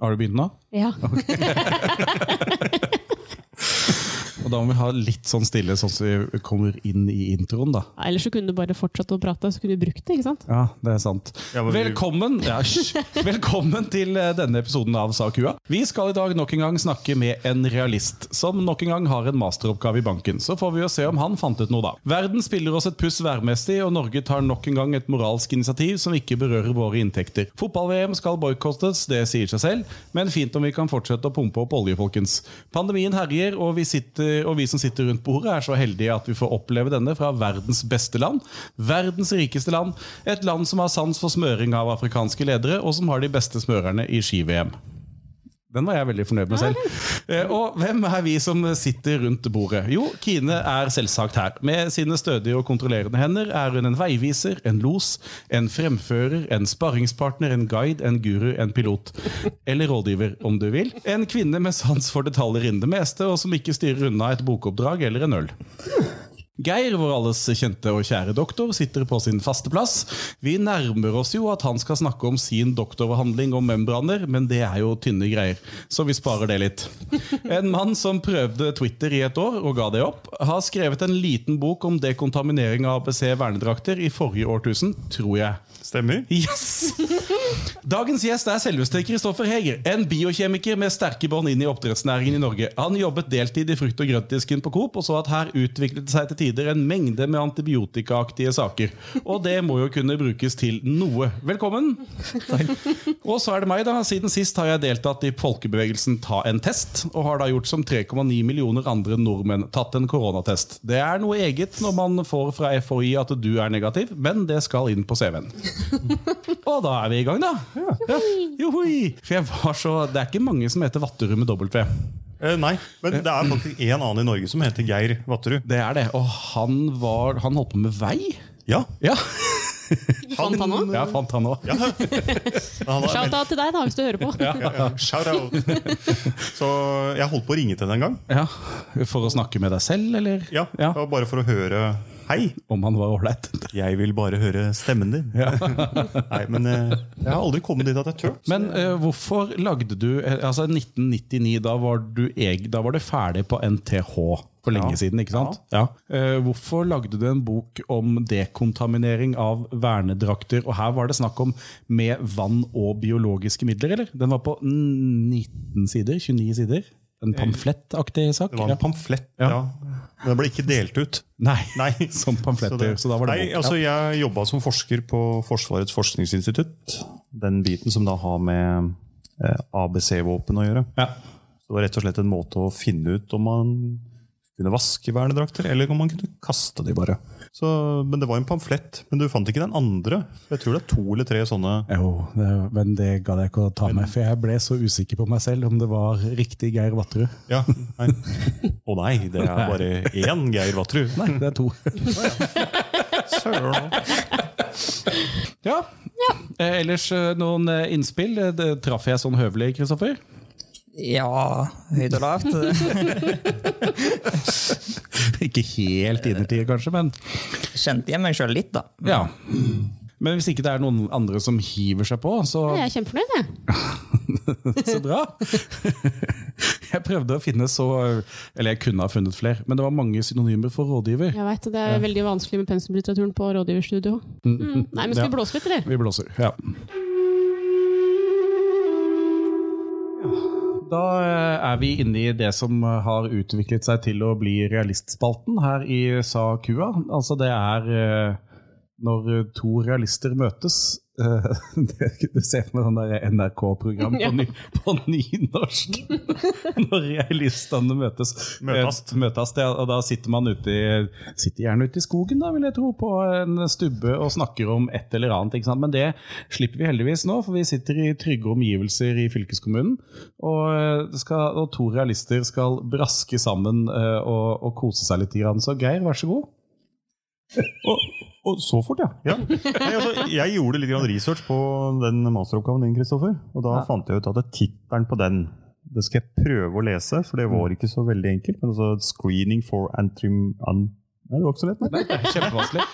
Har du begynt nå? Ja. Og da må vi ha litt sånn stille, sånn at vi kommer inn i introen, da. Ellers så kunne du bare fortsatt å prate, så kunne du brukt det. ikke sant? Ja, det er sant. Ja, men vi- velkommen, ja, hysj. velkommen til eh, denne episoden av Sa kua. Vi skal i dag nok en gang snakke med en realist, som nok en gang har en masteroppgave i banken. Så får vi jo se om han fant ut noe, da. Verden spiller oss et puss værmessig, og Norge tar nok en gang et moralsk initiativ som ikke berører våre inntekter. Fotball-VM skal boikottes, det sier seg selv, men fint om vi kan fortsette å pumpe opp olje, folkens. Pandemien herjer, og vi, sitter, og vi som sitter rundt bordet, er så heldige at vi får oppleve denne fra verdens beste land, verdens rikeste land, et land som har sans for smøring av afrikanske ledere, og som har de beste smørerne i ski-VM. Den var jeg veldig fornøyd med selv. Eh, Og hvem er vi som sitter rundt bordet? Jo, Kine er selvsagt her. Med sine stødige og kontrollerende hender er hun en veiviser, en los, en fremfører, en sparringspartner, en guide, en guru, en pilot. Eller rådgiver, om du vil. En kvinne med sans for detaljer innen det meste, og som ikke styrer unna et bokoppdrag eller en øl. Geir, vår alles kjente og kjære doktor, sitter på sin faste plass. Vi nærmer oss jo at han skal snakke om sin doktoravhandling om membraner, men det er jo tynne greier, så vi sparer det litt. En mann som prøvde Twitter i et år og ga det opp, har skrevet en liten bok om dekontaminering av ABC vernedrakter i forrige årtusen, tror jeg. Stemmer. Yes! Dagens gjest er selveste Kristoffer Heger, en biokjemiker med sterke bånd inn i oppdrettsnæringen i Norge. Han jobbet deltid i frukt- og grøntdisken på Coop, og så at her utviklet det seg til tider en mengde med antibiotikaaktige saker. Og det må jo kunne brukes til noe. Velkommen! Og så er det meg, da. Siden sist har jeg deltatt i folkebevegelsen Ta en test, og har da gjort som 3,9 millioner andre nordmenn, tatt en koronatest. Det er noe eget når man får fra FHI at du er negativ, men det skal inn på CV-en. Og da er vi i gang, da. Ja. Johoi! For jeg var så Det er ikke mange som heter Vatterud med W. Eh, nei, men det er faktisk en annen i Norge som heter Geir Vatterud. Det er det. Og han var Han holdt på med vei? Ja. Ja, Fant han også? jeg fant han òg. ja. Han er Shout-out til deg, da, hvis du hører på. veldig- ja, ja. Shout out. Så jeg holdt på å ringe til henne en gang. Ja. For å snakke med deg selv, eller? Ja, Ja. det var Bare for å høre Hei, Om han var ålreit. jeg vil bare høre stemmen din. Nei, men eh, jeg har aldri kommet dit at jeg tør. Men eh, hvorfor lagde du eh, Altså 1999, da var, du eg, da var du ferdig på NTH for lenge Ja. siden, ikke sant? Ja. Eh, hvorfor lagde du en bok om dekontaminering av vernedrakter? Og her var det snakk om med vann og biologiske midler, eller? Den var på 19 sider? 29 sider? En pamflettaktig sak? Eh, Det var Ja. en pamflett, Ja. ja. Men det ble ikke delt ut. Nei, Nei. som pamfletter. Så, da var det nei, bok. altså Jeg jobba som forsker på Forsvarets forskningsinstitutt. Den biten som da har med eh, ABC-våpen å gjøre. ja. Så det var rett og slett en måte å finne ut om man kunne vaske vernedrakter, eller om man kunne kaste de bare. Så, men det var en pamflett. Men du fant ikke den andre? Jeg tror det er to eller tre sånne. Jo, det, men det gadd jeg ikke å ta med, for jeg ble så usikker på meg selv om det var riktig Geir Vatterud. Ja, nei. Å nei, det er bare én Geir Vatterud. Nei, det er to. Søren òg. Ja. Eh, ellers eh, noen eh, innspill? Eh, Det traff jeg sånn høvelig, Kristoffer? Ja, høyt og lavt. Ikke helt innertid, kanskje, men Kjente igjen meg sjøl litt, da. ja. Men hvis ikke det er noen andre som hiver seg på, så, Jeg er kjempefornøyd, jeg. så bra. Jeg prøvde å finne så Eller jeg kunne ha funnet flere, men det var mange synonymer for rådgiver. Jeg vet, Det er veldig vanskelig med pensumlitteraturen på rådgiverstudio. Mm. Nei, men Skal vi blåse litt, eller? Vi blåser, ja. Da eh, er vi inne i det som har utviklet seg til å bli realistspalten her i Sa Kua. Altså det er eh, når to realister møtes. Eh, det- Du ser for meg sånn der NRK-program på, ny, på nynorsk. Når realistene møtes. Møtast. Eh, Møtast, ja. Og da sitter man ute i, sitter gjerne ute i skogen, da, vil jeg tro, på en stubbe og snakker om et eller annet. Ikke sant? Men det slipper vi heldigvis nå, for vi sitter i trygge omgivelser i fylkeskommunen. Og, eh, skal, og to realister skal braske sammen eh, og, og kose seg litt. Grann. Så Geir, vær så god. Og, og så fort, ja. ja. Nei, altså, jeg gjorde litt grann research på den masteroppgaven din, Kristoffer. Og da Ja. fant jeg ut at tittelen på den det skal jeg prøve å lese, for det var ikke så veldig enkelt. Men altså 'Screening for antrim... An Nei, det var ikke så lett, nei. Det er kjempevanskelig.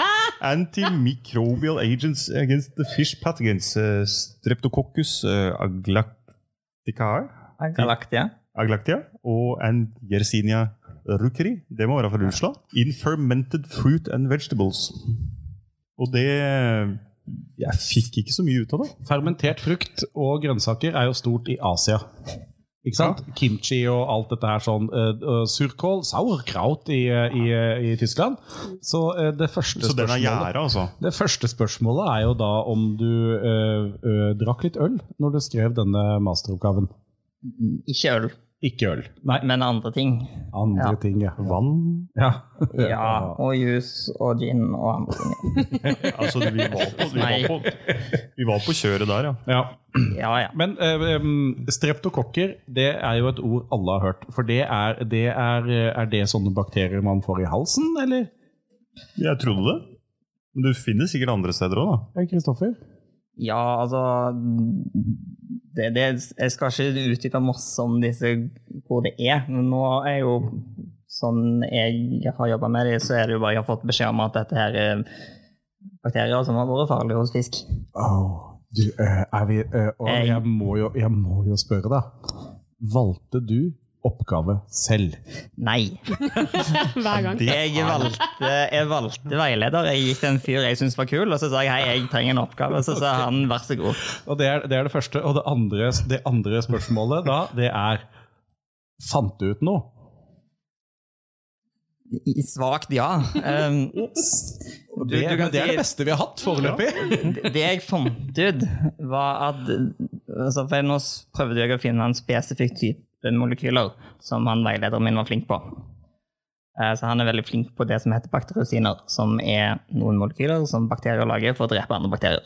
Antimicrobial agents against the fish pathogens. eh, Streptococcus eh, aglac- Dikar, Galaktia. Aglaktia og en Yersinia rukri. Det må være fra Russland. In fermented fruit and vegetables. Og det eh, Jeg fikk ikke så mye ut av det. Fermentert frukt og grønnsaker er jo stort i Asia. Ikke sant? Kimchi og alt dette her sånn. Uh, surkål, sauerkraut i, eh, i, eh, i Tyskland. Så eh, det første Så den er spørsmålet gjæra, altså. det første spørsmålet er jo da om du eh, eh, drakk litt øl når du skrev denne masteroppgaven. Ikke øl, Ikke øl. Nei, men andre ting. andre Ja. ting, ja. Vann ja. Ja, og juice og gin og andre ting. Altså, vi var på, vi var på, vi var på kjøret der, ja. ja. Ja, ja. Men eh, em, streptokokker det er jo et ord alle har hørt. For det er, det er, eh, er det sånne bakterier man får i halsen, eller? Jeg trodde det. Men du finner sikkert andre steder òg, da. Kristoffer? Ja, altså det, det, Jeg skal ikke utdype masse om disse, hvor det er. Men nå er jo sånn jeg har jobba med det, så er det jo bare jeg har fått beskjed om at dette her er bakterier som har vært farlige hos fisk. Oh, du, eh, er vi, eh, å, Eh. jeg, må jo, jeg må jo spørre, da. Valgte du oppgave selv? Nei. Hver gang. Jeg valgte, jeg valgte veileder. Jeg gikk til en fyr jeg syntes var kul, og så sa jeg hei, jeg trenger en oppgave. Så sa han vær så god. Og Det er det, er det første. Og det andre, det andre spørsmålet da, det er Fant du ut noe? I- Svakt ja. Um, Og Du- Det, du kan men det er si- det beste vi har hatt foreløpig. det det jeg fant ut, var at altså, for Nå s- prøvde jeg å finne en spesifikk type molekyler som han veilederen min var flink på. Eh, Så han er veldig flink på det som heter bakteriosiner, som er noen molekyler som bakterier lager for å drepe andre bakterier.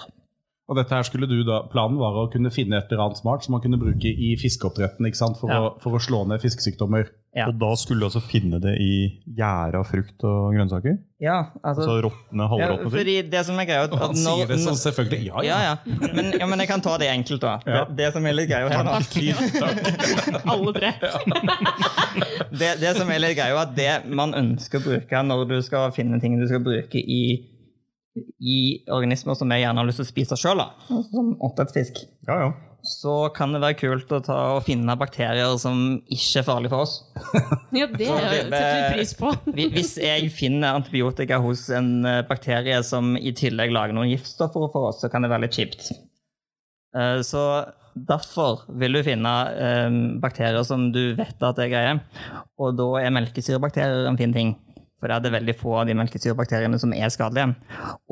Og dette her skulle du da, Planen var å kunne finne et eller annet smart som man kunne bruke i fiskeoppdretten ikke sant? For, Ja. å, for å slå ned fiskesykdommer. Ja. Og da skulle du altså finne det i gjæra frukt og grønnsaker? Ja, altså... Altså råtne, Ja, halvråtne ting? fordi det som er greia at Og han når- sier det sånn selvfølgelig. Ja, ja. Ja, ja. Men, ja, men jeg kan ta det enkelt, da. Ja. Det, det som er litt greia her nå Alle tre. det, det som er litt greia, er at det man ønsker å bruke når du skal finne ting du skal bruke i, i organismer som jeg gjerne har lyst til å spise sjøl, som oppdrettsfisk, Ja, ja. så kan det være kult å ta og finne bakterier som ikke er farlige for oss. Ja, det Så setter det- vi pris på. Hvi- Hvis jeg finner antibiotika hos en eh, bakterie som i tillegg lager noen giftstoffer for oss, så kan det være litt kjipt. Eh, Så derfor vil du finne eh, bakterier som du vet at er greie, og da er melkesyrebakterier en fin ting. For det er det veldig få av de melkesyrebakteriene som er skadelige.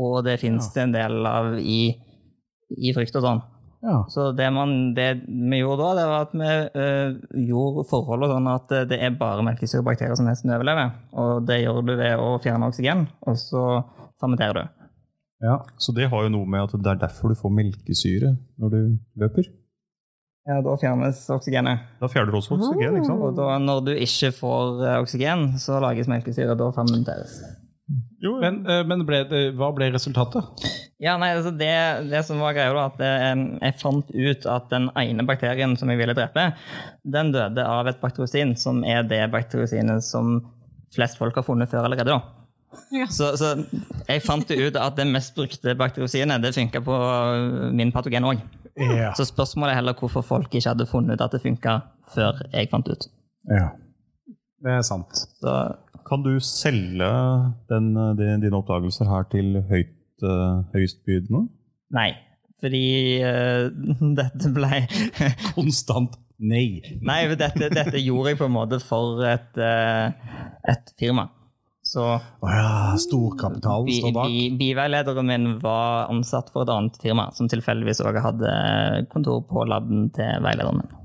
Og det fins det en del av i, i frukt og sånn. Ja. Så det, man, det vi gjorde da, det var at vi eh, gjorde forholdet sånn at eh, det er bare melkesyrebakterier som nesten overlever. Og det gjør du ved å fjerne oksygen, og så fermenterer du. Ja. Så det har jo noe med at det er derfor du får melkesyre når du løper. Ja, da fjernes oksygenet. Da fjerner du også oksygen, ikke sant? Og da, når du ikke får eh, oksygen, så lages melkesyre, og da fermenteres. Jo, ja. Men, eh, men ble det, hva ble resultatet? Ja, nei, altså det, det som var greia da, at eh, jeg fant ut at den ene bakterien som jeg ville drepe, den døde av et bakteriosin, som er det bakteriosinet som flest folk har funnet før allerede. da. Ja. Så, så jeg fant jo ut at det mest brukte bakteriosinet det funka på min patogen òg. Ja. Så spørsmålet er heller hvorfor folk ikke hadde funnet ut at det funka før jeg fant ut. ja. Det er sant. Så Kan du selge den, de, dine oppdagelser her til høyt, eh, høyestbydende? nei. Fordi eh, dette blei Konstant nei. Nei, men dette, dette gjorde jeg på en måte for et, eh, et firma. Så Å ja, storkapitalen bi, står bak. bi, biveilederen min var ansatt for et annet firma, som tilfeldigvis òg hadde kontor på laben til veilederen min.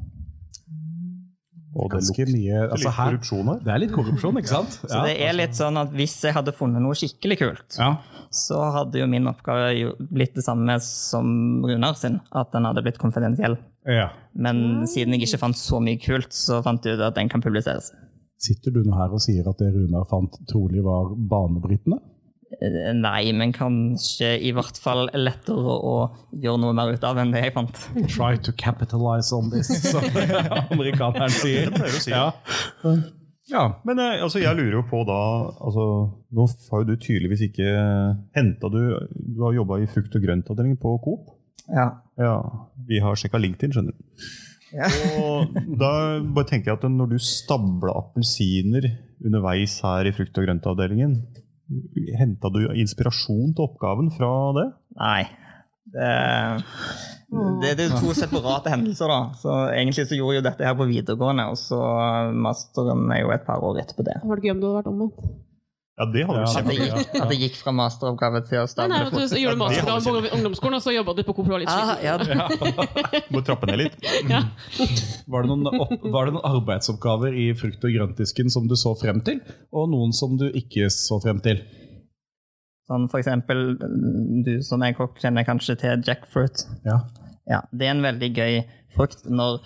Og det Ganske lukter mye altså, litt her, korrupsjon her. Det er litt korrupsjon, ikke sant? Så det er litt sånn at hvis jeg hadde funnet noe skikkelig kult, altså. ja. så hadde jo min oppgave jo blitt det samme som Runar sin, at den hadde blitt konfidensiell. ja. Men siden jeg ikke fant så mye kult, så fant jeg ut at den kan publiseres. Sitter du nå her og sier at det Runar fant, trolig var banebrytende? Eh, Nei, men kanskje i hvert fall lettere å gjøre noe mer ut av enn det jeg fant. Try to capitalize on this, som amerikaneren sier. Det pleier å si. Ja. ja. Men eh, altså, jeg lurer jo på da altså, Nå har jo du tydeligvis ikke henta du Du har jobba i frukt- og grøntavdelingen på Coop. Ja. Ja, Vi har sjekka LinkedIn, skjønner du. Og da bare tenker jeg at når du stabla appelsiner underveis her i frukt- og grøntavdelingen, henta du inspirasjon til oppgaven fra det? Nei. Det, det, det er to separate hendelser, da. Så Egentlig så gjorde jeg jo dette her på videregående, og så masteren er jo et par år etterpå det. Det hadde vært gøy om det hadde vært omvendt. Ja, det hadde Ja. vi At det kjempegøy. gikk, at det gikk fra masteroppgave til å Nei, nei, stable at du gjorde masteroppgave på ungdomsskolen, og så jobba du på Coop Lola litt. Ah, ja, Må trappe ned litt. Var det, noen opp, var det noen arbeidsoppgaver i frukt- og grøntdisken som du så frem til, og noen som du ikke så frem til? Sånn for eksempel, mm, du som er kokk kjenner kanskje til jackfruit. Ja. Ja, det er en veldig gøy frukt når,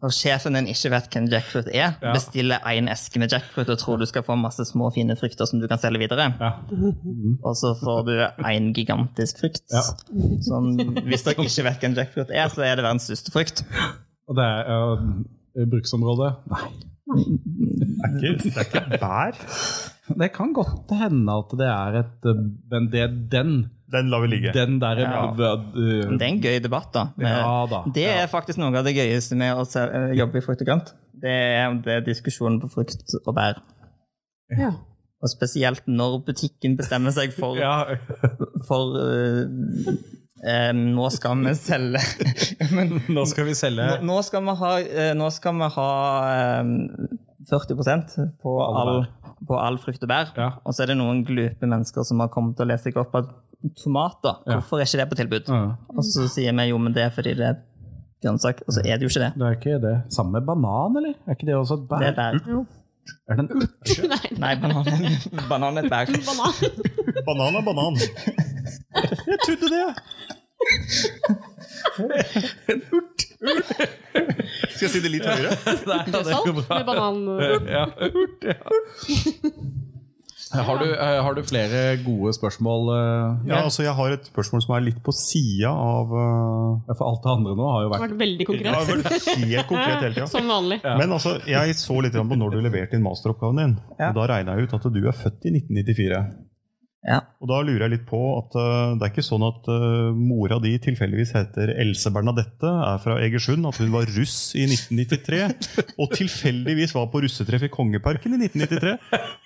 når sjefen din ikke vet hvem jackfruit er, Ja. bestiller en eske med jackfruit og tror du skal få masse små, fine frukter som du kan selge videre. Ja. Og så får du en gigantisk frukt. Ja. Som, hvis dere ikke vet hvem jackfruit er, så er det verdens største frukt. Og det er øh, bruksområdet? Nei. Det er ikke, det er ikke bær. Det kan godt hende at det er et øh, Men det er den. Den lar vi ligge. Den der eh, Ja. øh, Det er en gøy debatt, da. Men Ja da, Det er faktisk noe av det gøyeste med å se, eh, jobbe i frukt og grønt. Det er, det er diskusjonen på frukt og bær. Ja. Og spesielt når butikken bestemmer seg for, Ja. for eh, eh, Nå skal vi selge Men Nå skal vi selge nå, nå skal vi ha, eh, nå skal vi ha eh, 40 på all, alle på all frukt og bær. Ja. Og så er det noen glupe mennesker som har kommet og lest seg opp at tomater, Ja. hvorfor er ikke det på tilbud? Ja. Og så sier vi jo, men det er fordi det er grønnsak. Og så er det jo ikke det. Det er ikke det. Samme banan, eller? Er ikke det også et bær? Det er bær. Er det en urt? Nei, Nei, banan, banan er et bær. banan. Banan er banan. Jeg trodde det! Skal jeg si det litt høyere? Salt med banan. Ja, urt, ja. Har du, eh, har du flere gode spørsmål? eh? Ja, altså, jeg har et spørsmål som er litt på sida av eh, Ja, For alt det andre nå har jo Det har vært vært veldig Det har konkret. vært helt konkret hele tida. Som vanlig. Men altså, jeg så litt grann på når du leverte inn masteroppgaven din. Ja. Og da regna jeg ut at du er født i 1994. Ja. Og da lurer jeg litt på at eh, det er ikke sånn at eh, mora di tilfeldigvis heter Else Bernadette, er fra Egersund, at hun var russ i 1993, og tilfeldigvis var på russetreff i Kongeparken i 1993,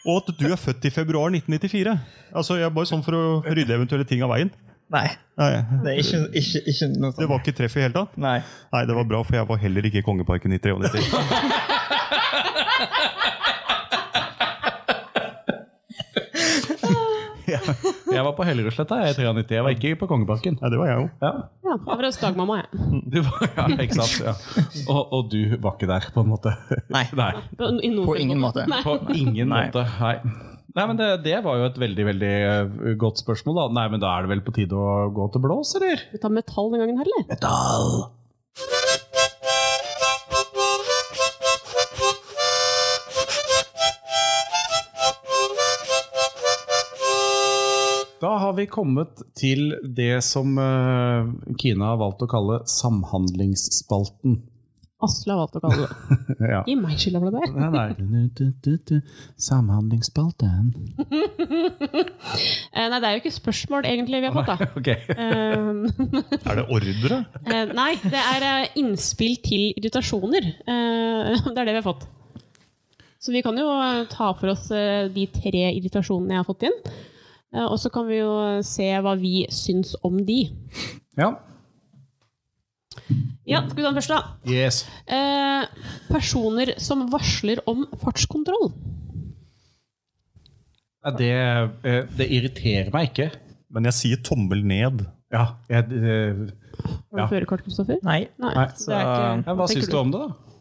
og at du er født i februar 1994. Altså, jeg er Bare sånn for å rydde eventuelle ting av veien. Nei, Nei, det er ikke, ikke, ikke noe det sånt. var ikke treff i hele tatt. Nei. Nei, det var bra, for jeg var heller ikke i Kongeparken i 93. Jeg var på Hellerudsletta jeg, i 93. Jeg var ikke på Kongeparken. Nei, det var jeg jo. Ja. Ja, jeg var hos dagmamma, jeg. Du var, ja, ikke sant? Ja. Og, og du var ikke der, på en måte. Nei. Nei, På, i noen På ingen måte. Nei. på ingen Nei. måte. Nei. Nei, men det, det var jo et veldig veldig eh, godt spørsmål. da. Nei, men Da er det vel på tide å gå til blås, eller? Vi tar metall den gangen her, eller? Da har vi kommet til det som eh, Kina har valgt å kalle samhandlingsspalten. Asle har valgt å kalle det Ja. Gi meg skylda for det der. Nei, nei. Du, du, du, du. Samhandlingsspalten. Eh, Nei, det er jo ikke spørsmål egentlig vi har fått, da. Ok. Eh, Er det ordre? eh, Nei, det er eh, innspill til irritasjoner. Eh, Det er det vi har fått. Så vi kan jo eh, ta for oss eh, de tre irritasjonene jeg har fått inn. Eh, Og så kan vi jo se hva vi syns om de. Ja. Ja, skal vi ta den første, da? Yes. Eh, Personer som varsler om fartskontroll. Ja, Det, eh, det irriterer meg ikke. Men jeg sier tommel ned. Ja, jeg, eh, Har du Ja. førerkort, Kristoffer? Nei. Nei, Nei, så det er ikke, men Hva syns du om det, da?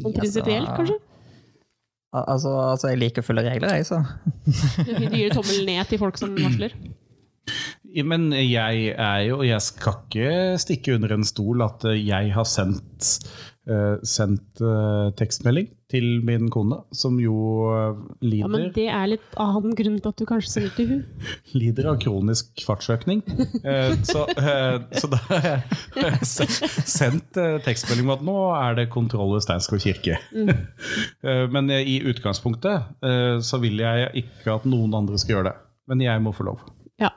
Sånn prinsipielt, kanskje? Al- Altså, altså, jeg liker å følge regler, jeg, så. Du gir tommel ned til folk som varsler. Ja, Men jeg er jo Jeg skal ikke stikke under en stol at eh, jeg har sendt eh, sendt eh, tekstmelding til min kone, som jo eh, Ja, lider, men det er litt annen grunn til at du kanskje sender til hun. lider av kronisk fartsøkning. Eh, så, eh, så da har jeg eh, se- sendt eh, tekstmelding om at nå er det kontroll ved Steinskog kirke. Mm. Eh, men eh, i utgangspunktet eh, så vil jeg ikke at noen andre skal gjøre det. Men jeg må få lov. Ja.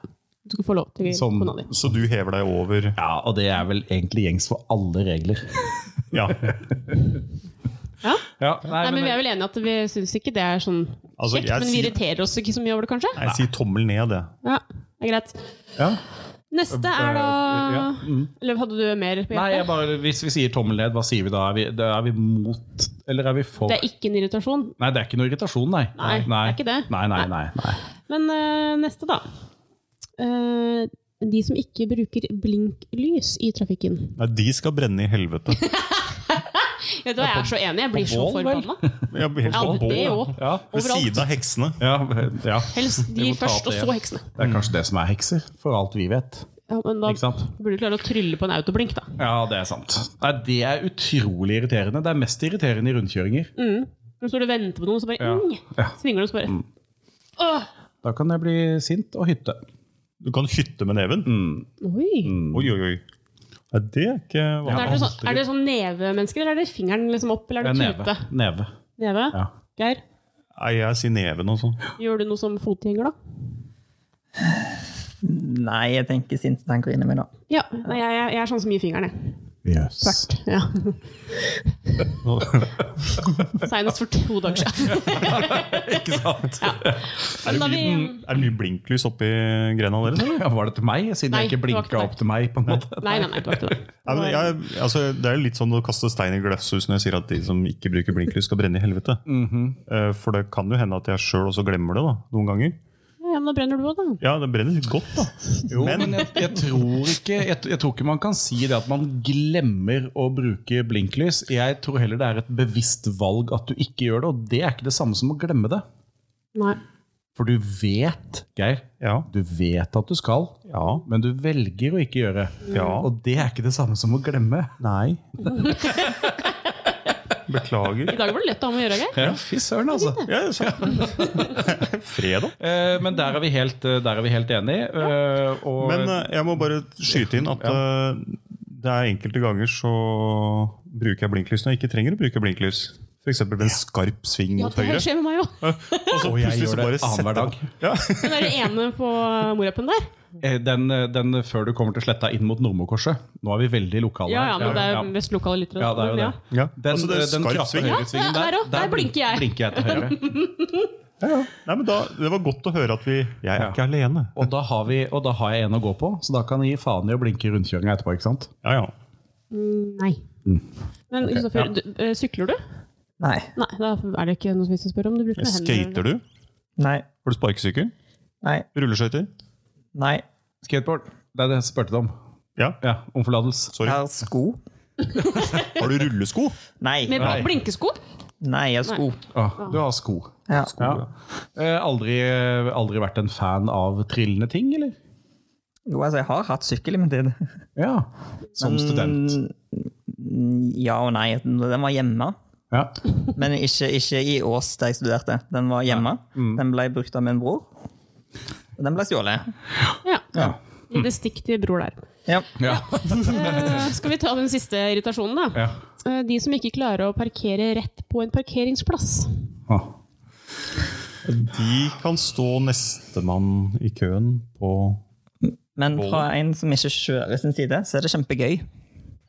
Du skal få lov til Som- kona di. Så du hever deg over Ja, og det er vel egentlig gjengs for alle regler. Ja. Ja? Ja, Nei, men vi er vel enige at vi syns ikke det er sånn Altså, kjekt, jeg men vi sier- irriterer oss ikke så mye over det, kanskje? Jeg sier tommel ned, jeg. Ja, det er greit. Ja. Neste Eh, er da Mm. Eller hadde du mer på Nei, jeg hjertet? bare, hvis vi sier tommel ned, hva sier vi da? Er vi, da er vi mot, eller er vi for? Det er ikke en irritasjon. Nei, det er ikke noe irritasjon, nei. Nei, det er ikke det. Nei, nei, nei. nei. Men eh, neste, da. Eh, de som ikke bruker blinklys i trafikken. Nei, de skal brenne i helvete. Vet du hva, Jeg er så enig. Jeg blir så På bål, vel? forbanna. Jeg blir helt Ja, på det bål. òg. Ja, Ved siden av heksene. ja, ja. Helst Vi de må ta først, opp og det så igjen. heksene. Det er kanskje det som er hekser, for alt vi vet. Ja, men da Ikke sant? burde du klare å trylle på en autoblink, da. Ja, det er sant. Nei, det er utrolig irriterende. Det er mest irriterende i rundkjøringer. Mm. Når du står og venter på noen, så bare Ja. mm, Ja. svinger du og så bare Åh! Da kan jeg bli sint og hytte. Du kan hytte med neven. Oi! Oi, oi, oi. Nei, det er ikke Men vanlig. Er dere sånn, er dere sånn nevemennesker, eller er det fingeren liksom opp, eller Det er er det neve. tute? Neve. Neve? Ja. Geir, Nei, jeg sier neven og sånn. gjør du noe som fotgjenger, da? Nei, jeg tenker sinte tanker inni meg nå. Ja, Nei, jeg, jeg er sånn som gir fingeren, jeg. Yes. Tvert. Ja. Senest for to dager siden. Ikke sant? Er det da mye, vi- er det mye blinklys oppi grena deres? eller? Ja, var det til meg, siden Nei, jeg ikke det var ikke blinka deg. opp til meg? på en måte? Nei, nei, nei, det var ikke det. Nei, men jeg, altså, det er jo litt sånn å kaste stein i glasshus når jeg sier at de som ikke bruker blinklys, skal brenne i helvete. Eh, For det kan jo hende at jeg sjøl også glemmer det da, noen ganger. Ja, men da brenner du òg, da. Ja, det brenner godt, da. Jo, men, jeg, jeg, tror ikke, jeg, jeg tror ikke man kan si det at man glemmer å bruke blinklys. Jeg tror heller det er et bevisst valg at du ikke gjør det, og det er ikke det samme som å glemme det. Nei. For du vet, Geir, Ja. du vet at du skal, ja. men du velger å ikke gjøre. Ja. Og det er ikke det samme som å glemme. Nei. Beklager. I dag var det lett å ha med å gjøre, Ja, Geir. fy søren, altså. Ja, så. Fredag. Eh, men der er vi helt, eh, der er vi helt enige. eh, og, Men eh, jeg må bare skyte inn at eh, det er enkelte ganger så bruker jeg blinklys når jeg ikke trenger å bruke blinklys. F.eks. ved en skarp sving Ja, mot det høyre. her skjer med meg òg. Og så og jeg plutselig så gjør bare det annenhver setter dag. jeg Ja. Den der ene på morappen der. Eh, Den, den før du kommer til sletta inn mot Nordmokorset. Nå er vi veldig lokale. Ja, ja, men her. det er ja. jo mest lokale lyttere. Ja, det er jo det. Ja. Den, eh, altså, det er den skarp krasse sving. høyresvingen Ja, der, der også. Der blinker jeg. blinker jeg til høyre. Nei, men da, det var godt å høre at vi Jeg er Ja. ikke alene. Og da, har vi, og da har jeg en å gå på, så da kan jeg gi faen i å blinke i rundkjøringa etterpå. ikke sant? Ja, ja. Mm, Nei. Men Kristoffer, ja. du- eh, sykler du? Nei. Nei, da er det ikke noe vits å spørre om. Du bruker Skater du? Nei. Har du sparkesykkel? Nei. Rulleskøyter? Nei. Skateboard. Det er det jeg spurte deg om. Ja. Ja, Om forlatelse. Sorry. Jeg har sko. Har du rullesko? Nei. Med bl- blinkesko? Nei, jeg har sko. Å, Ah. du har sko. Ja. Ja. Eh, aldri, aldri vært en fan av trillende ting, eller? Jo, altså, jeg har hatt sykkel i min tid. Ja. Som student. Mm, Ja og nei. Den var hjemme. Ja. Men ikke, ikke i Ås, der jeg studerte. Den var hjemme. Den ble brukt av min bror. Og den ble stjålet. Ja. Ja. Lite stikk til bror der. Ja. ja. Eh, skal vi ta den siste irritasjonen, da? ja. Eh, de som ikke klarer å parkere rett på en parkeringsplass. Å. De kan stå nestemann i køen på Men fra en som ikke kjører sin side, så er det kjempegøy.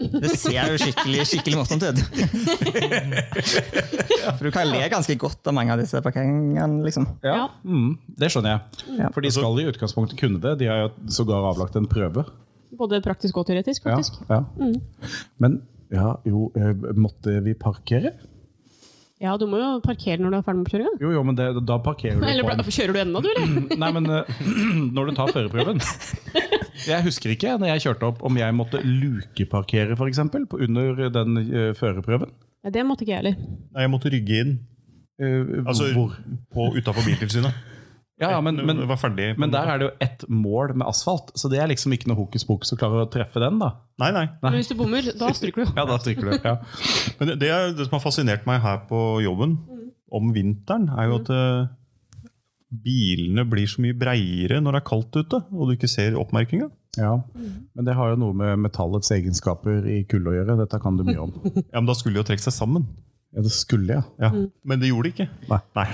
Det ser jo skikkelig, skikkelig morsomt ut. For du kan le ganske godt av mange av disse parkeringene, liksom. Ja, Ja. Mm, det skjønner jeg. Ja. For de skal i utgangspunktet kunne det. De har jo sågar avlagt en prøve. Både praktisk og teoretisk, Ja, faktisk. ja. Men ja, jo, eh, måtte vi parkere? Ja, du må jo parkere når du er ferdig med oppkjøringa. Jo, jo, men det, da parkerer du Eller på ble- en kjører du ennå, du, eller? Nei, men eh, når du tar førerprøven Jeg husker ikke når jeg kjørte opp om jeg måtte lukeparkere, f.eks., under den eh, førerprøven. Nei, det måtte ikke jeg heller. Nei, jeg måtte rygge inn. Eh, Altså hvor? på utafor Biltilsynet. Ja, ja, men, men, Det var ferdig. på en men måte. der er det jo ett mål med asfalt, så det er liksom ikke noe hokus pokus å klare å treffe den, da. Nei, nei. Men hvis du bommer, da stryker du. Ja, da stryker du. Ja. Men det, det er det som har fascinert meg her på jobben om vinteren, er jo at eh, bilene blir så mye breiere når det er kaldt ute, og du ikke ser oppmerkinga. Ja, Men det har jo noe med metallets egenskaper i kull å gjøre. Dette kan du mye om. Ja, men da skulle de jo trekke seg sammen. Ja, det skulle jeg. Ja. Men det gjorde det ikke. Nei. Nei.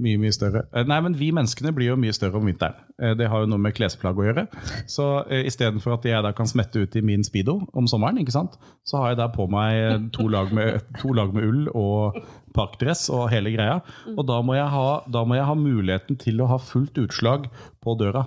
Mye, mye større. Eh, Nei, men vi menneskene blir jo mye større om vinteren. Eh, Det har jo noe med klesplagg å gjøre. Så eh, istedenfor at jeg da kan smette ut i min speedo om sommeren, ikke sant? så har jeg der på meg eh, to lag med, to lag med ull og parkdress og hele greia. Og da må, jeg ha, da må jeg ha muligheten til å ha fullt utslag på døra.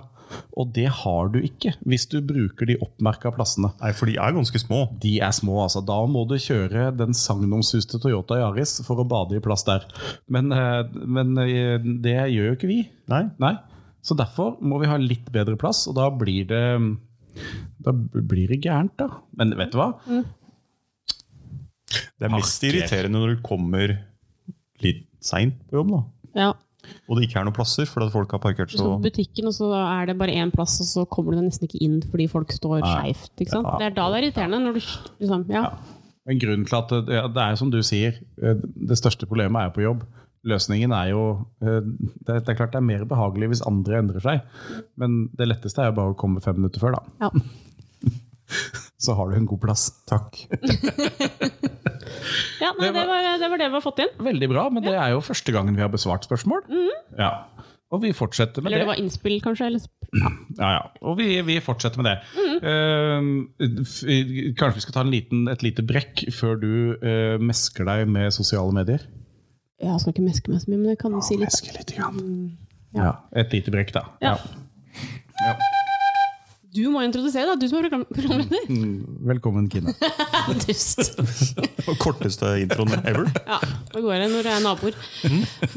Og det har du ikke hvis du bruker de oppmerka plassene. Nei, for de er ganske små. De er små, altså. Da må du kjøre den sagnomsuste Toyota Yaris for å bade i plass der. Men, eh, men eh, det gjør jo ikke vi. Nei. Nei. Så derfor må vi ha litt bedre plass, og da blir det da blir det gærent, da. Men vet du hva? Det er mest Parker. irriterende når du kommer litt seint på jobb, da. Ja. og det ikke er noen plasser fordi at folk har parkert Du skal så på butikken, og så er det bare én plass, og så kommer du deg nesten ikke inn fordi folk står skeivt. ikke sant? Det er da det er irriterende. når du liksom, ja. En grunn til at det, ja, det er som du sier, eh, det største problemet er på jobb. Løsningen er jo eh, Det det er klart det er mer behagelig hvis andre endrer seg, men det letteste er jo bare å komme fem minutter før, da. Ja. Så har du en god plass. Takk. Ja, nei, det var det, var det vi har fått inn. Veldig bra, men det er jo første gangen vi har besvart spørsmål. Ja. Og vi fortsetter med Eller det. det var innspill, kanskje. Eller sp- Ja, ja. Og vi, vi fortsetter med det. Eh, f- kanskje vi skal ta en liten, et lite brekk før du eh, mesker deg med sosiale medier? ja, jeg skal ikke meske meg så mye, men jeg kan si litt. Meske litt. Grann. ja. Ja. Et lite brekk, da. Ja. Du må introdusere, da. Du som er program- programleder. Velkommen, Kine. Dust. Korteste introen ever. Ja, det går det når det er naboer.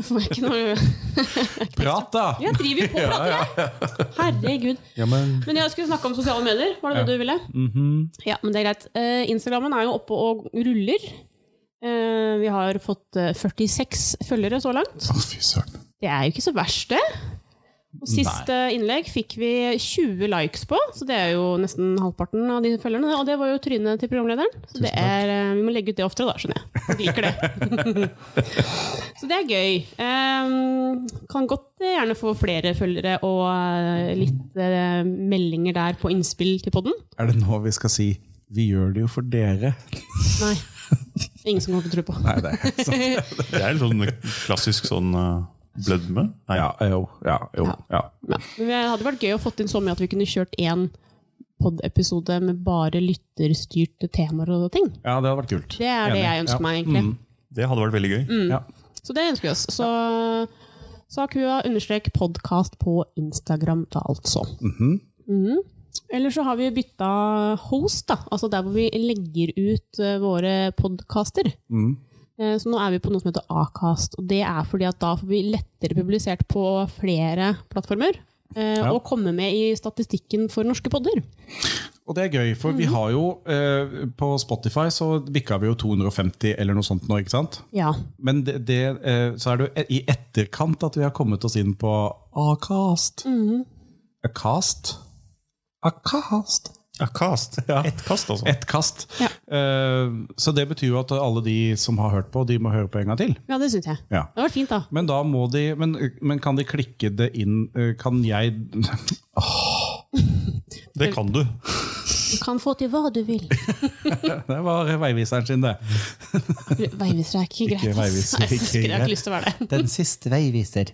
Får jeg ikke noe Prat, da! Jeg driver jo på prater, jeg! Herregud. Ja, men Mhm. Men jeg skulle snakke om sosiale medier. Var det det du ville? Ja, men det er greit. Eh, Instagrammen er jo oppe og ruller. Eh, vi har fått eh, 46 følgere så langt. Å, fy søren. Det er jo ikke så verst, det. Og siste innlegg fikk vi 20 likes på, så det er jo nesten halvparten av de følgerne. Og det var jo trynet til programlederen. Så det er, eh, vi må legge ut det oftere, da, skjønner jeg. Jeg liker det. så det er gøy. Eh, kan godt eh, gjerne få flere følgere og eh, litt eh, meldinger der på innspill til podden. Er det nå vi skal si 'vi gjør det jo for dere'? Nei. Det er ingen som kommer til å tro på. Nei, det er sant. det er en sånn klassisk sånn eh, blødme. Nei, Ja, jo, ja, jo, ja. Ja. Men det hadde vært gøy å fått inn så mye at vi kunne kjørt én pod-episode med bare lytterstyrte temaer og ting. Ja, det hadde vært kult. Det er det Enig. jeg ønsker Ja. meg, egentlig. Det hadde vært veldig gøy. Ja. Så det ønsker vi oss. Så Sakua understrek podkast på Instagram, da altså. Mhm. Eller så har vi bytta host, da. Altså der hvor vi legger ut eh, våre podkaster. Mhm. Eh, Så nå er vi på noe som heter Acast, og det er fordi at da får vi lettere publisert på flere plattformer. eh, Ja. Og komme med i statistikken for norske podder. Og det er gøy, for vi har jo eh, På Spotify så bikka vi jo 250 eller noe sånt nå, ikke sant? Ja. Men det, det, eh, så er det jo i etterkant at vi har kommet oss inn på Acast. Acast? Acast? Ja, kast. Ja. Ett kast, altså. Ett kast. Ja. Eh, så det betyr jo at alle de som har hørt på, de må høre på en gang til. ja, det syns jeg. Ja. Det har vært fint, da. Men da må de Men, men kan de klikke det inn eh, Kan jeg Det kan du. Du kan få til hva du vil. Det var veiviseren sin, det. Veiviser er ikke greit. ass. veiviser, Nei, jeg ikke husker jeg har greit. ikke lyst til å være det. Den siste veiviser.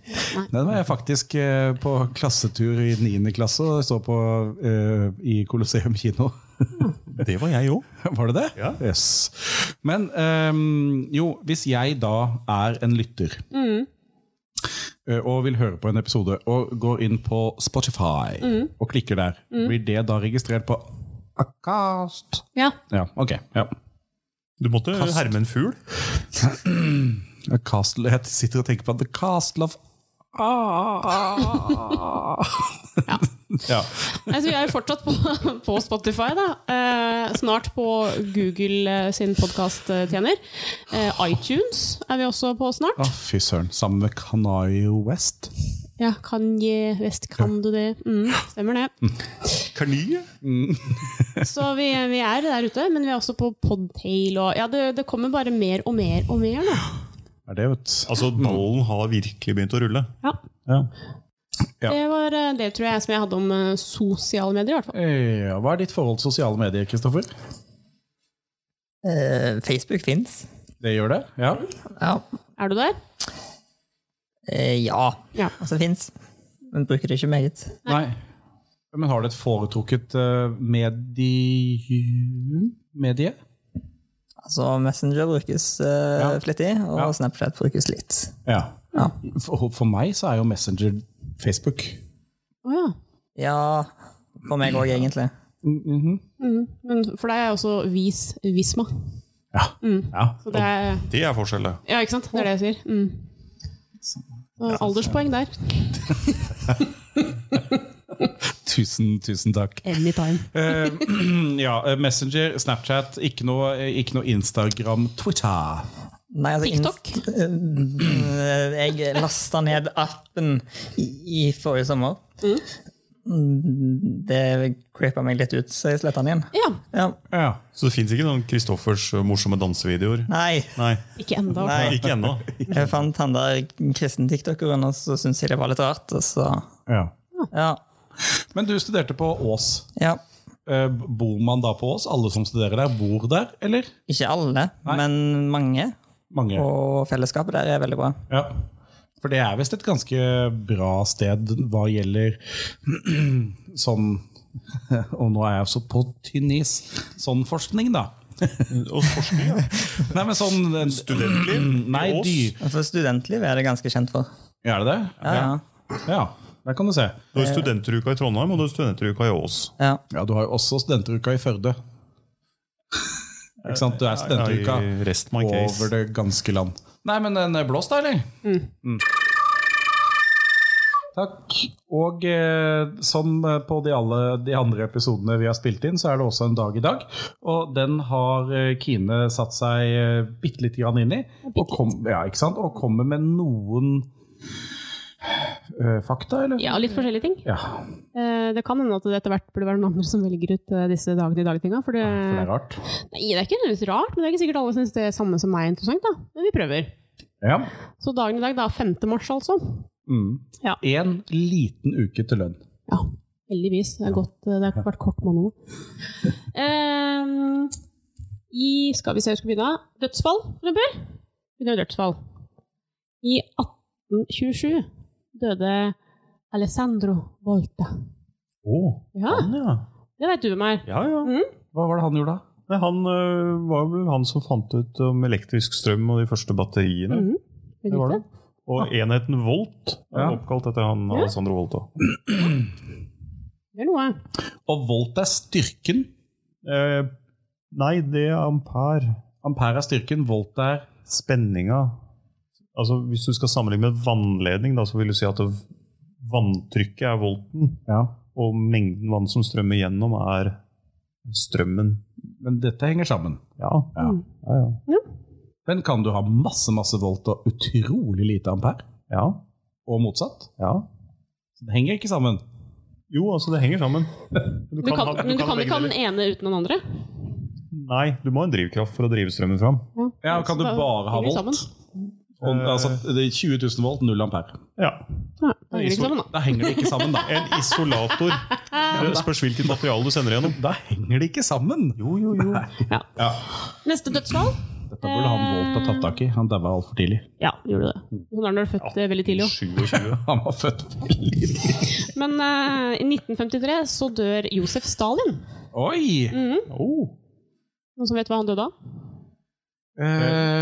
Den var jeg faktisk eh, på klassetur i 9. klasse og så på eh, i Colosseum kino. Det var jeg òg. Var det det? Ja. Yes. Men ehm, jo, hvis jeg da er en lytter eh, og vil høre på en episode og går inn på Spotify og klikker der, blir det da registrert på Acast? Ja. Ja, ok. Ja. Du måtte herme en fugl. Acast- jeg sitter og tenker på The Castle of Ah. Ja. ja. Nei, så Altså, vi er jo fortsatt på, på Spotify, da. Eh, snart på Google eh, sin podkasttjener. Eh, iTunes er vi også på snart. Å, fy søren. Sammen med Kanayo West. Ja, Kanye West, kan du det? Mm, stemmer det. Karniet. Så vi, vi er der ute, men vi er også på Podtail og Ja, det, det kommer bare mer og mer og mer nå. Er det jo et Altså, ballen har virkelig begynt å rulle. Ja. ja. Ja. Det var eh, det, tror jeg, som jeg hadde om eh, sosiale medier, i hvert fall. Eh, ja, Hva er ditt forhold til sosiale medier, Kristoffer? Eh, Facebook fins. Det gjør det? Ja. Ja. Er du der? Eh, ja. Ja. Altså fins. Men bruker det ikke meget. Nei. Men har du et foretrukket eh, medi... medie? Altså Messenger brukes eh, Ja. flittig, og Ja. Snapchat brukes litt. Ja. Ja. For, for meg så er jo Messenger Facebook. Å ja. Ja, for meg òg, egentlig. Mm. Men for deg er også vis visma. Ja. ja. Så det er, Det er forskjellet. ja, ikke sant? Det er det jeg sier. Mm. Så Alderspoeng der. Tusen, tusen takk. Anytime. Eh, ja, eh, Messenger, Snapchat, ikke noe, eh, ikke noe Instagram, Twitter. Nei, altså, TikTok? inst- eh, jeg lasta ned appen i, i forrige sommer. Mm, Det creepa meg litt ut, så jeg sletta den igjen. Ja. Ja. Ja. Så det fins ikke noen Kristoffers eh, morsomme dansevideoer? Nei, Nei, Ikke enda. Nei. ikke ennå. jeg fant han der kristen tiktokeren, og så syntes jeg det var litt rart. Og så, Ja. ja, Men du studerte på Ås. ja. Eh, Bor man da på Ås? Alle som studerer der, bor der, eller? Ikke alle, men mange. Mange. Og fellesskapet der er veldig bra. Ja. For det er visst et ganske bra sted hva gjelder sånn Og nå er jeg så på tynn is. Sånn forskning, da. Og forskning, ja. Nei, men sånn Studentliv i Mm, Nei, Ås. dyr. For studentliv er det ganske kjent for. Er det det? Ja, ja. ja. Der kan du se. Du har studenteruka i Trondheim, og du har studenteruka i Ås. ja. Ja, du har jo også studenteruka i Førde. Ikke sant? Du er studenteruka I rest my case. over det ganske land. Nei, men den er blåst, da, eller? Mm. Takk. Og eh, som eh, på de, alle, de andre episodene vi har spilt inn, så er det også en dag i dag. Og den har eh, Kine satt seg eh, bitte lite grann inn i. Og, kom, ja, ikke sant? og kommer med noen eh, fakta, eller? Ja, litt forskjellige ting. Ja, Eh, Det kan hende at det etter hvert burde være noen andre som velger ut eh, disse dagene i dag-tinga. For det, for det er rart. Nei, det er ikke nødvendigvis rart, men det er ikke sikkert alle syns det er samme som meg er interessant. da. Men vi prøver. Ja. Så dagen i dag, da. 5. mars, altså. Mm. Ja. En liten uke til lønn. Ja, heldigvis. Det, er godt, det har vært kort måned nå. Ehm, I Skal vi se, hvor skal vi begynne? Dødsfall, for eksempel. Begynner med dødsfall. I 1827 døde Alessandro Volta. Å, Ja, Ah. han, ja. det veit du hvem er. Ja, ja. Hva var det han gjorde da? Nei, han øh, var vel han som fant ut om elektrisk strøm og de første batteriene. Mhm. Det var det. Og enheten volt er Ja. oppkalt etter han Ja. Alessandro Volta. Det er noe. Og volt er styrken. Eh, nei, det er ampere. Ampere er styrken, volt er Spenninga Altså, Hvis du skal sammenligne med vannledning, da, så vil du si at det- vanntrykket er volten, Ja. og mengden vann som strømmer gjennom, er strømmen. Men dette henger sammen. Ja, Ja. Mm. ja, ja. Men kan du ha masse, masse volt og utrolig lite ampere? ja, Og motsatt? ja. Så det henger ikke sammen. Jo, altså, det henger sammen. Du kan, ha- men du kan begge ikke ha den deler. ene uten den andre. Nei, du må ha en drivkraft for å drive strømmen fram. Ja, Kan du Så da bare ha henger det volt? sammen. Og, altså, det er 20 000 volt, null ampere. Ja. Ja, da henger det ikke sammen, da. Eh, Da henger det ikke sammen, da. En isolator. Det spørs hvilket materiale du sender gjennom. Da henger det ikke sammen! Jo, jo, jo. Ja. Neste dødsfall. Dette burde han Volt ha tatt tak i. Han daua altfor tidlig. Ja, gjorde du det. Sånn er det når du er født eh, veldig tidlig òg. 27. Han var født veldig Men eh, i 1953 så dør Josef Stalin. Oi! Mm. Oh. Noen som vet hva han døde av? Eh,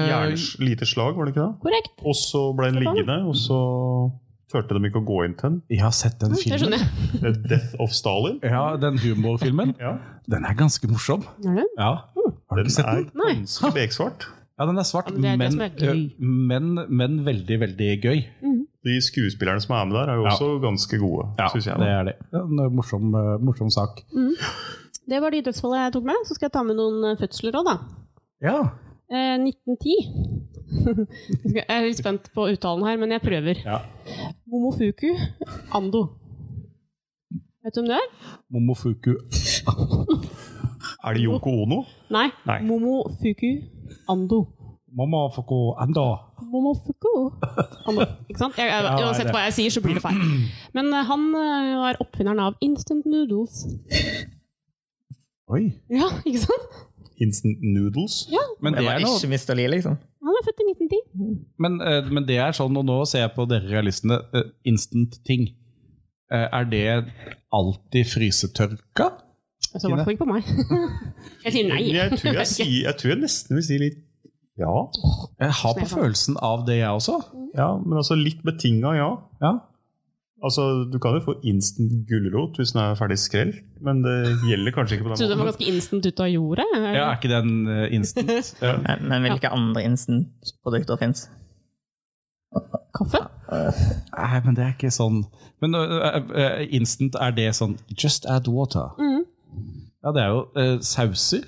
Hjernes lite slag, var det ikke det? Korrekt. Og så ble den liggende, og så turte de ikke å gå inn til den. jeg har sett den Det filmen. skjønner jeg. The Death of Stalin. Ja, Den humorfilmen. Ja. Den er ganske morsom. Er det? Ja. Har du Den ikke sett er den? Nei. ganske beksvart. Ja, den er svart, Ja, men det er det men, som er gøy. øh, men, men veldig, veldig gøy. De skuespillerne som er med der, er jo Ja. også ganske gode. synes jeg. det er det. Det er En morsom, øh, morsom sak. Det var de dødsfallene jeg tok med. Så skal jeg ta med noen eh, fødsler òg, da. Ja. Eh, 1910. jeg er litt spent på uttalen her, men jeg prøver. ja. Momofuku Ando. Vet du hvem det er? Momofuku Er det Yoko Ono? Nei. Nei. Momofuku Ando. Momofuku anda. Momofuku Ando. Ikke sant? Jeg, jeg, Ja, uansett det- hva jeg sier, så blir det feil. Men eh, han eh, var oppfinneren av instant noodles. Oi. Ja, ikke sant? instant noodles. Men Det det var er noe ikke Mr. Lee, liksom. Han er født i 1910. Men, eh, men det er sånn, og nå ser jeg på dere realistene, eh, instant-ting. Eh, er det alltid frysetørka? Altså, i hvert fall ikke på meg. jeg sier nei. Jeg tror jeg, sier, jeg tror jeg nesten vil si litt ja. Jeg har på Stefan. følelsen av det, jeg også. ja men altså litt betinga ja. Ja. Altså, Du kan jo få instant gulrot hvis den er ferdig skrelt, men det gjelder kanskje ikke på Jeg trodde den den var måten. ganske instant ut av jorda. Ja, er ikke den eh, instant? Men, men hvilke andre instant-produkter fins? Kaffe? Nei, men det er ikke sånn Men eh, eh, instant, er det sånn Just add water. Mhm. Ja, det er jo eh, sauser.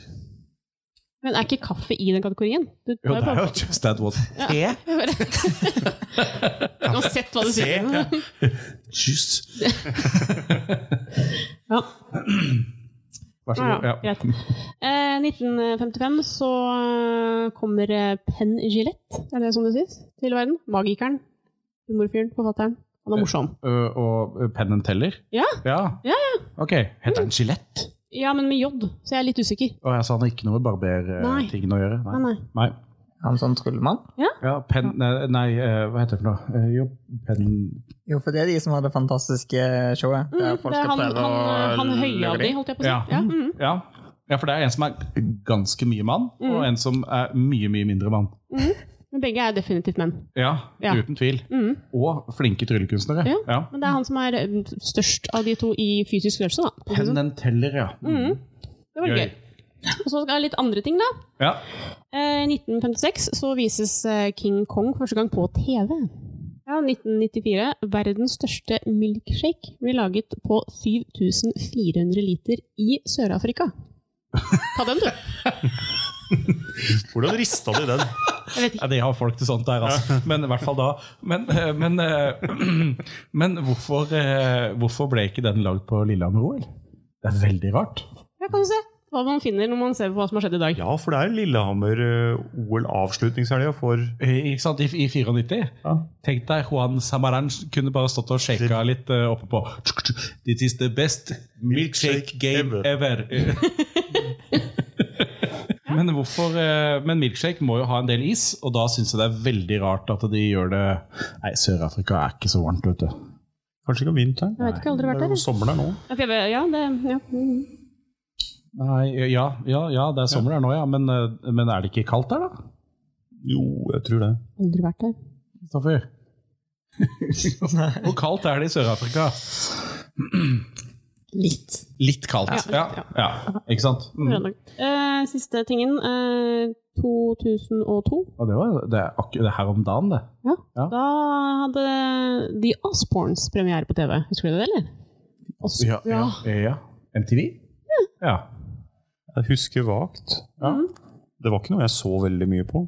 Men er ikke kaffe i den kategorien? Du Jo, tar det er bare- jo just add water. Te? Uansett hva du sier. Juice. Ja. Vær så Ja, god. ja, Ja. greit. Eh, 1955 så eh, kommer eh, Penn Gillette, er det sånn det sies, til verden. Magikeren, humorfyren, forfatteren. Han er morsom. Ø, Øh, og ø, pennen teller? Ja. ja. Ja, Ok, Heter den skjelett? Ja, men med J, så jeg er litt usikker. Å, ja, så han har ikke noe med barbertingene å gjøre? Nei, nei. nei. Han sånn tryllemann? Ja, pen, nei, nei, ø, hva heter det for noe? Ø, Jo, pen... Jo, for det er de som har det fantastiske showet. Mm, Der folk det er skal han, prøve han, eh, han å høye av lure de, dem. holdt jeg på å si. Ja. Ja, mm. Ja. ja, for det er en som er ganske mye mann, og Mm. en som er mye, mye mindre mann. Men begge er definitivt menn. Ja, Ja. uten tvil. Mm. Og flinke tryllekunstnere. Ja. Ja. Men det er han som er eh, størst av de to i fysisk størrelse, da. Pennen teller, ja. Mm. Det var litt gøy. Og så skal jeg litt andre ting, da. Ja. Eh, 1956 så vises eh, King Kong første gang på TV. Ja, 1994. Verdens største milkshake blir laget på 7400 liter i Sør-Afrika. Ta den, du. Hvordan rista de den? Jeg vet Ja, ikke. det har folk til sånt der, altså. Men i hvert fall da. Men, ø, men, ø, men hvorfor, ø, hvorfor ble ikke den lagd på Lillehammer-OL? Det er veldig rart. Her kan du se hva man finner når man ser på hva som har skjedd i dag. Ja, for det er eh, Lillehammer-OL-avslutningshelga for Eh, Ikke sant, i, i 94. Ja. Tenk deg, Juan Samaran kunne bare stått og shaka litt eh, oppe på This is the best milkshake game ever. men, hvorfor, eh, men milkshake må jo ha en del is, og da syns jeg det er veldig rart at de gjør det Nei, Sør-Afrika er ikke så varmt, vet du. Kanskje ikke om vinteren? Jeg vet ikke, jeg har aldri vært Det er der. jo sommer der nå. Ok, Ja, det, ja. Mm. Nei, ja, ja, ja det er sommer her nå, ja. Men, eh, men er det ikke kaldt der, da? Jo, jeg tror det. Aldri vært der. Kristoffer? Hvor kaldt er det i Sør-Afrika? Litt. Litt kaldt. Ja, Ja, ja, Ikke sant? Mm. Bra dag. Eh, siste tingen. Eh, 2002. Ja, det, var, det, er akkur- det er her om dagen, det. Da hadde The Osborns premiere på TV. Husker du det, eller? Os- ja. MTV? Ja. Jeg husker vagt. Ja. Mhm. Det var ikke noe jeg så veldig mye på.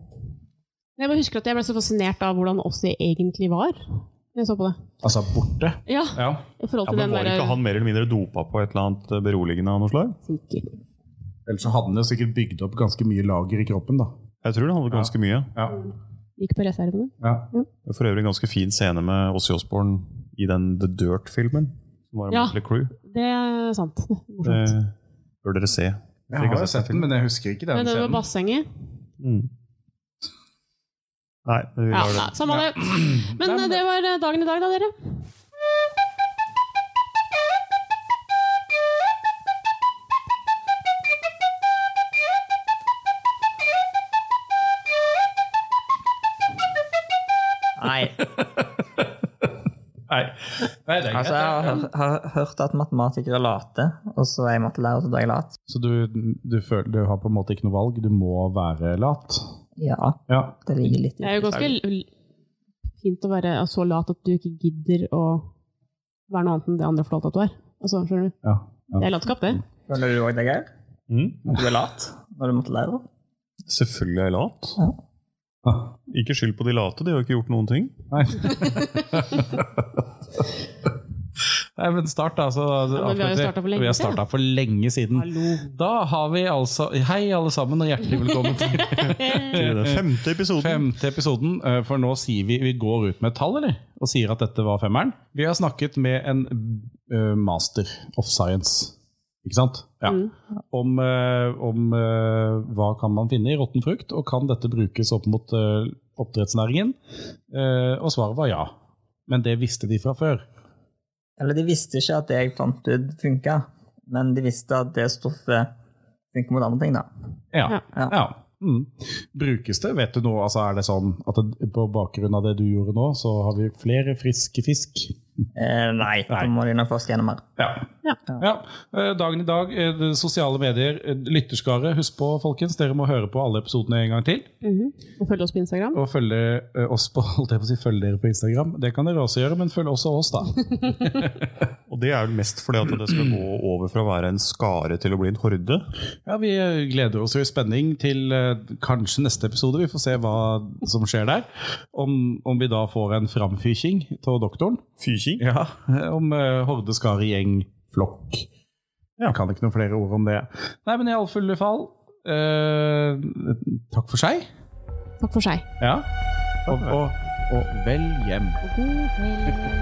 Jeg bare husker at jeg ble så fascinert av hvordan Ossi egentlig var. når Jeg så på det. Altså borte. Ja, Ja. i forhold Ja, til men den Var derre ikke han mer eller mindre dopa på et eller annet eh, beroligende av noe slag? Sikker. Ellers så hadde han jo sikkert bygd opp ganske mye lager i kroppen, da. Jeg tror det handlet ganske mye. Ja. Gikk på reservene. ja. Det er For øvrig en ganske fin scene med Ossi Osborn i den The Dirt-filmen. Som var en Ja. Motley Crue. Det er sant. Det Morsomt. bør dere se. Jeg har jo sett den, men jeg husker ikke den Men det var scenen. bassenget. Mm. Nei, vi Ja, lar det. nei, samme det. Men eh, det var eh, dagen i dag, da, dere. Nei. Nei. Nei, det er Altså, jeg har, hør- har hørt at matematikere later, og så er jeg mattelærer, så da er jeg lat. Så du, du, føler, du har på en måte ikke noe valg? Du må være lat? Ja, Ja. det ligger litt i Det er jo ganske faget. l- fint å være så lat at du ikke gidder å være noe annet enn det andre får lov til at du er. Altså, skjønner du? ja. Det er latskap, det. Føler du òg det, Geir? Mm. At Du er lat når du er mattelærer? Selvfølgelig er jeg lat. Ah. Ikke skyld på de late, de har jo ikke gjort noen ting. Nei. Nei, men start, da. Så, Ja, men vi har jo startet for lenge Vi har siden, startet for lenge Mm. siden. Hallo. Da har vi altså Hei, alle sammen, og hjertelig velkommen til Eh, Til den femte episoden. femte episoden. eh, For nå sier vi Vi går ut med et tall, eller? Og sier at dette var femmeren. Vi har snakket med en eh, master of science. Ikke sant? Ja. Mm. Om, eh, om eh, hva kan man finne i råtten frukt, og kan dette brukes opp mot eh, oppdrettsnæringen? Eh, og svaret var ja. Men det visste de fra før. Eller de visste ikke at det jeg fant ut funka, men de visste at det stoffet funker mot andre ting, da. Ja. Ja. ja. Mm. Brukes det? Vet du noe? Altså, er det sånn at det, på bakgrunn av det du gjorde nå, så har vi flere friske fisk? Eh, nei, da Nei. må de nok forske gjennom mer. Ja. Ja. Ja. Eh, Dagen i dag, eh, det sosiale medier, eh, lytterskare. Husk på, folkens, dere må høre på alle episodene en gang til. Mhm. Og følg oss på Instagram. Og følge eh, oss på, holdt jeg på å si, følg dere på Instagram. Det kan dere også gjøre, men følg også oss, da. Og det er vel mest fordi at det skal gå over fra å være en skare til å bli en horde. Ja, Vi eh, gleder oss jo i spenning til eh, kanskje neste episode. Vi får se hva som skjer der. Om, om vi da får en framfyking av doktoren. Fyking. Ja, Om eh, horde, skare, gjeng, flokk. Jeg kan ikke noen flere ord om det. Nei, men i alle fulle fall eh, Takk for seg. Takk for seg. Ja. Og, og, og vel hjem. God helg.